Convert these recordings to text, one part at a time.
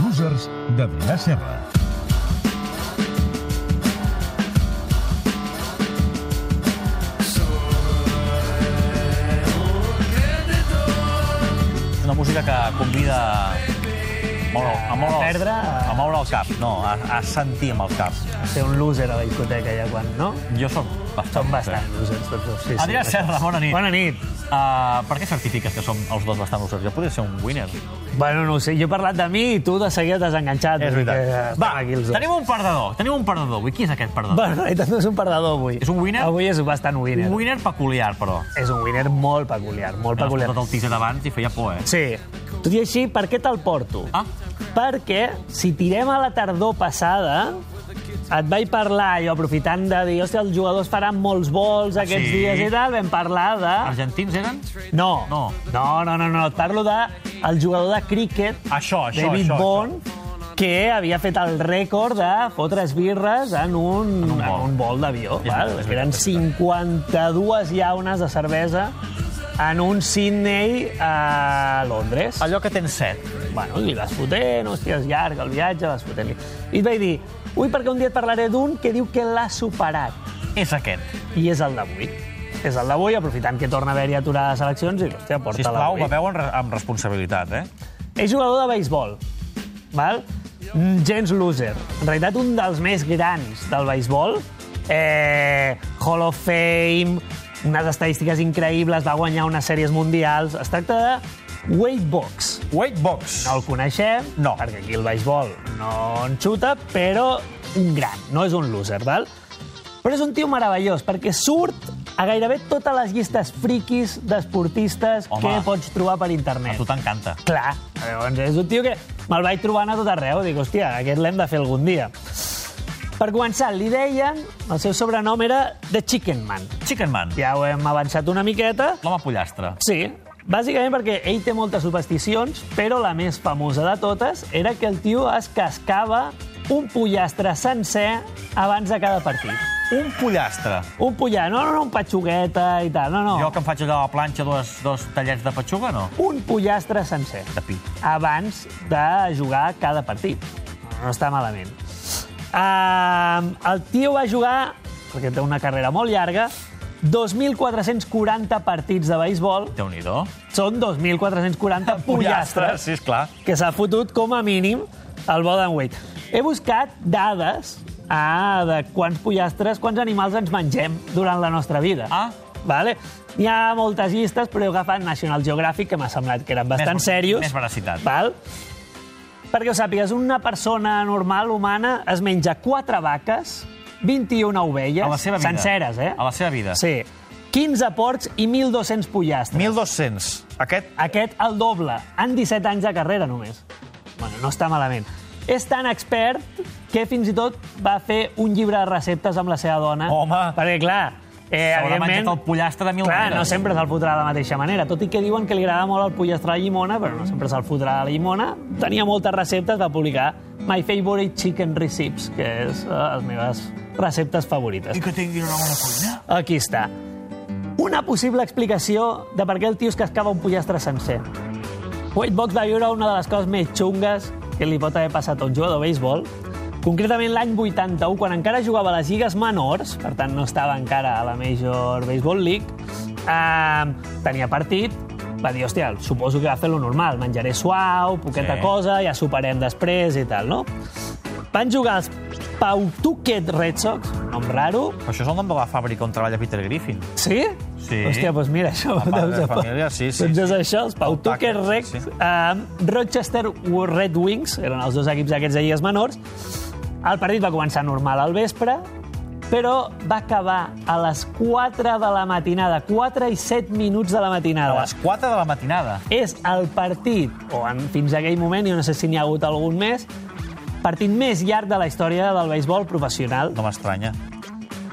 Motors de Vila Serra. És una música que convida a moure, el- a moure, A el- perdre, eh? a- a moure el cap, no, a, a sentir amb el cap. Ser un loser a la discoteca ja quan, no? Jo soc bastant... Som bastant losers tots dos. Sí, sí, Adrià Serra, bona nit. Bona nit. Uh, per què certifiques que som els dos bastant losers? Jo podria ser un winner. Bueno, no ho sé, jo he parlat de mi i tu de seguida t'has enganxat. o sigui que estem Va, aquí els dos. tenim un perdedor. Tenim un perdedor avui. Qui és aquest perdedor? Bueno, en realitat no és un perdedor avui. És un winner? Avui és bastant winner. Un winner peculiar, però. És un winner molt peculiar, molt Hem peculiar. escoltat tota el teaser abans i feia por, eh? Sí. Tot i així, per què te'l porto? Ah. Perquè, si tirem a la tardor passada, et vaig parlar, jo aprofitant de dir, hòstia, els jugadors faran molts vols aquests Ah, sí? Ah, dies i tal, vam parlar de... Argentins eren? No. No. no, no, no, no. et parlo de el jugador de críquet, Això, això, David això, Bond, que havia fet el rècord de fotre's birres en un, en un vol. en un vol d'avió. És val? veritat, és Eren veritat, és 52 llaunes de cervesa en un Sydney a Londres. Allò que tens set. Bueno, i vas fotent, hòstia, és llarg el viatge, vas fotent-li. I et vaig dir, ui, perquè un dia et parlaré d'un que diu que l'ha superat. És aquest. I és el d'avui. És el d'avui, aprofitant que torna a haver-hi aturada de seleccions, i, hòstia, porta-la Sisplau, avui. beveu amb, re- amb responsabilitat, eh? És jugador de béisbol, val? Mm, gens loser. En realitat, un dels més grans del béisbol. Eh, Hall of Fame, unes estadístiques increïbles, va guanyar unes sèries mundials. Es tracta de Wade Box. Wait box. No el coneixem, No. perquè aquí el béisbol no en xuta, però un gran, no és un loser, val? Però és un tio meravellós, perquè surt a gairebé totes les llistes friquis d'esportistes Home. que pots trobar per A internet. tu t'encanta. Clar, llavors és un tio que me'l vaig trobant a tot arreu. Dic, hòstia, aquest l'hem de fer algun dia. Per començar, li deien, el seu sobrenom era The Chicken Man. Chicken Man. Ja ho hem avançat una miqueta. L'home pollastre. Sí, bàsicament perquè ell té moltes supersticions, però la més famosa de totes era que el tio es cascava un pollastre sencer abans de cada partit. Un pollastre. Oh. Un pollastre, no, no, no, un patxugueta i tal, no, no. Jo que em faig allò a la planxa dos, dos tallets de petxuga, no? Un pollastre sencer. De pi. abans de jugar cada partit. No està malament. Uh, el tio va jugar, perquè té una carrera molt llarga, 2.440 partits de béisbol. Déu-n'hi-do. Són 2.440 pollastres Sí, esclar. que s'ha fotut com a mínim el Boden Wade. He buscat dades ah, de quants pollastres, quants animals ens mengem durant la nostra vida. Ah. Vale? Hi ha moltes llistes, però he agafat National Geographic, que m'ha semblat que eren bastant Més- serios. més veracitat. Val? Perquè ho sàpigues, una persona normal, humana, es menja 4 vaques, 21 ovelles... A la seva vida. Senceres, eh? A la seva vida. Sí. 15 porcs i 1.200 pollastres. 1.200. Aquest... Aquest el doble, en 17 anys de carrera només. Bueno, no està malament. És tan expert que fins i tot va fer un llibre de receptes amb la seva dona. Home. Perquè, clar, eh, S'haurà menjat evidentment... el pollastre de mil Clar, maneres. no sempre se'l fotrà de la mateixa manera. Tot i que diuen que li agrada molt el pollastre a la llimona, però no sempre se'l fotrà a la llimona. Tenia moltes receptes, va publicar My Favorite Chicken Recipes, que és eh, les meves receptes favorites. I que tinguin una bona cuina. Aquí està. Una possible explicació de per què el tio es cascava un pollastre sencer. Wade Box va viure una de les coses més xungues que li pot haver passat a un jugador de béisbol. Concretament l'any 81, quan encara jugava a les lligues menors, per tant no estava encara a la Major Baseball League, eh, tenia partit, va dir, hòstia, suposo que va fer lo normal, menjaré suau, poqueta Sí. sí. cosa, ja superem després i tal, no? Van jugar els Pawtucket Red Sox, nom raro, Però això és el nom de la fàbrica on treballa Peter Griffin. Sí? Sí. Hòstia, doncs mira, això... La part de doncs, família, sí, sí, Doncs sí. és això, els Pau Tucker Tucker, Rex, sí. sí. Rochester Red Wings, eren els dos equips aquests de lligues menors. El partit va començar normal al vespre, però va acabar a les 4 de la matinada, 4 i 7 minuts de la A matinada. les 4 de la matinada. És el partit, o en, fins a aquell moment, jo no sé si n'hi ha hagut algun més, partit més llarg de la història del béisbol professional. No m'estranya.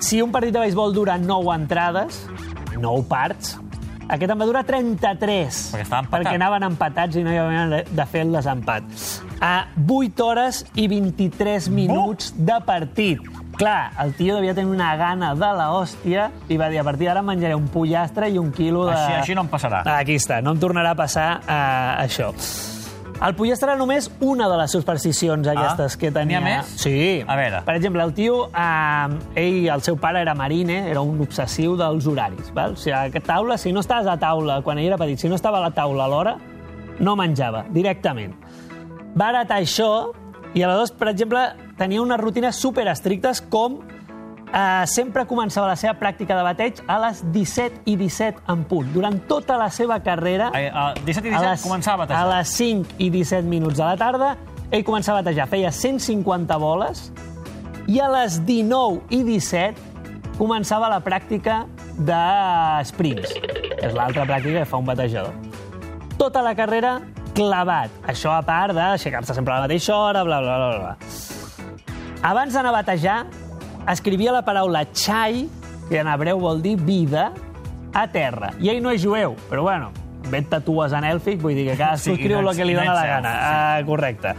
Si un partit de béisbol dura 9 entrades, 9 parts, aquest en va durar 33. Perquè estava empatat. Perquè anaven empatats i no hi havia manera de fer el desempat. A 8 hores i 23 minuts de partit. Clar, el tio devia tenir una gana de la hòstia i va dir, a partir d'ara em menjaré un pollastre i un quilo de... Així, així no em passarà. Aquí està, no em tornarà a passar eh, això. El pollastre era només una de les supersticions aquestes que tenia. Ah, n'hi ha més? Sí. A veure. Per exemple, el tio, eh, ell, el seu pare era marine, era un obsessiu dels horaris. Val? O sigui, a taula, si no estaves a taula quan ell era petit, si no estava a la taula a l'hora, no menjava, directament. Va heretar això i aleshores, per exemple, tenia unes rutines super estrictes com eh, sempre començava la seva pràctica de bateig a les 17 i 17 en punt. Durant tota la seva carrera... Ai, Eh, a 17 i 17 començava a batejar. A les 5 i 17 minuts de la tarda, ell començava a batejar. Feia 150 boles i a les 19 i 17 començava la pràctica de sprints, que és l'altra pràctica que fa un batejador. Tota la carrera clavat. Això a part d'aixecar-se sempre a la mateixa hora, bla, bla, bla, bla. Abans d'anar a batejar, escrivia la paraula chai, que en hebreu vol dir vida, a terra. I ell no és jueu, però bueno, inventa tues en èlfic, vull dir que Sí, cadascú sí, escriu no el ets- que li no dóna ets la gana. elf, Ah, correcte.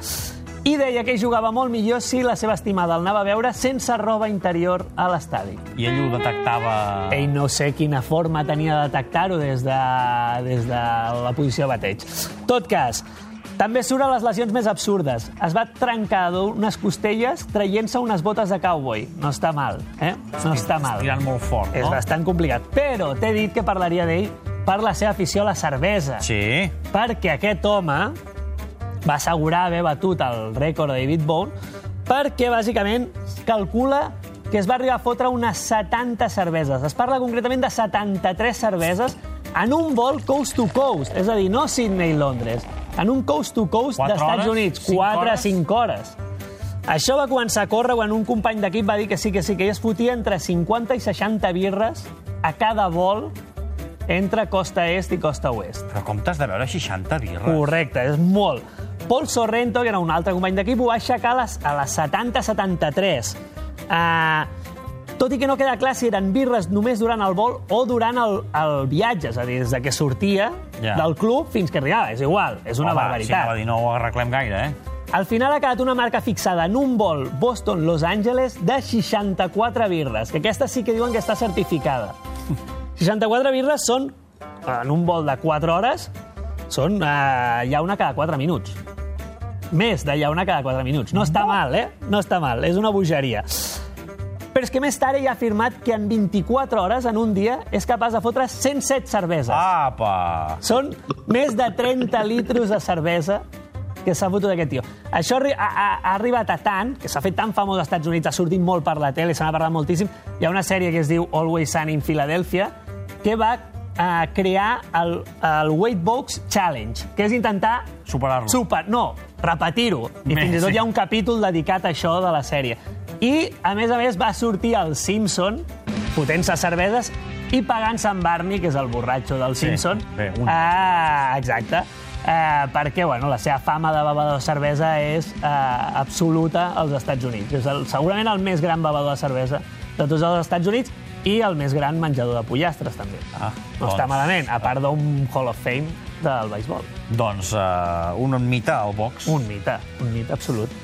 I deia que ell jugava molt millor si la seva estimada el anava a veure sense roba interior a l'estadi. I ell ho detectava... Ell no sé quina forma tenia de detectar-ho des, de, des de la posició de bateig. Tot cas, també surt a les lesions més absurdes. Es va trencar d'unes costelles traient-se unes botes de cowboy. No està mal, eh? No està mal. Tirant molt fort, És no? bastant complicat. Però t'he dit que parlaria d'ell per la seva afició a la cervesa Sí. perquè aquest home va assegurar haver batut el rècord de David Bone perquè, bàsicament, calcula que es va arribar a fotre unes 70 cerveses. Es parla concretament de 73 cerveses en un vol coast to coast, és a dir, no Sydney i Londres, en un coast to coast Quatre d'Estats hores? Units, Cinc 4 hores? 5 hores. Això va començar a córrer quan un company d'equip va dir que sí, que sí, que ell es fotia entre 50 i 60 birres a cada vol entre costa est i costa oest. Però com t'has de veure 60 birres? Correcte, és molt. Paul Sorrento, que era un altre company d'equip, ho va aixecar a les, a les 70-73. Uh, tot i que no queda clar si eren birres només durant el vol o durant el, el viatge, és a dir, des de que sortia Ja. yeah. del club fins que arribava. És igual, és una Home, barbaritat. Si anava a dir, no ho arreglem gaire, eh? Al final ha quedat una marca fixada en un vol Boston-Los Angeles de 64 birres, que aquesta sí que diuen que està certificada. 64 birres són, en un vol de 4 hores, són eh, llauna cada 4 minuts. Més de llauna cada 4 minuts. No està mal, eh? No està mal, és una bogeria. Però és que més tard ell ha afirmat que en 24 hores, en un dia, és capaç de fotre 107 cerveses. Apa! Són més de 30 litros de cervesa que s'ha fotut aquest tio. Això arri- ha, ha, ha arribat a tant, que s'ha fet tan famós als Estats Units, ha sortit molt per la tele, se n'ha parlat moltíssim. Hi ha una sèrie que es diu Always Sunny in Philadelphia, que va eh, crear el, el Weight Box Challenge, que és intentar... Superar-lo. Super, no, repetir-ho. I Bé, fins i tot sí. hi ha un capítol dedicat a això de la sèrie. I, a més a més, va sortir el Simpson fotent-se cerveses i pagant-se en Barney, que és el borratxo del Sí, Simpson. bé, un. Ah, exacte. Eh, perquè bueno, la seva fama de bevedor de cervesa és eh, absoluta als Estats Units. És el, segurament el més gran bevedor de cervesa de tots els Estats Units i el més gran menjador de pollastres, també. Ah, no doncs. està malament, a part d'un Hall of Fame del béisbol. Doncs uh, un mite al box. Un mite, un mite absolut.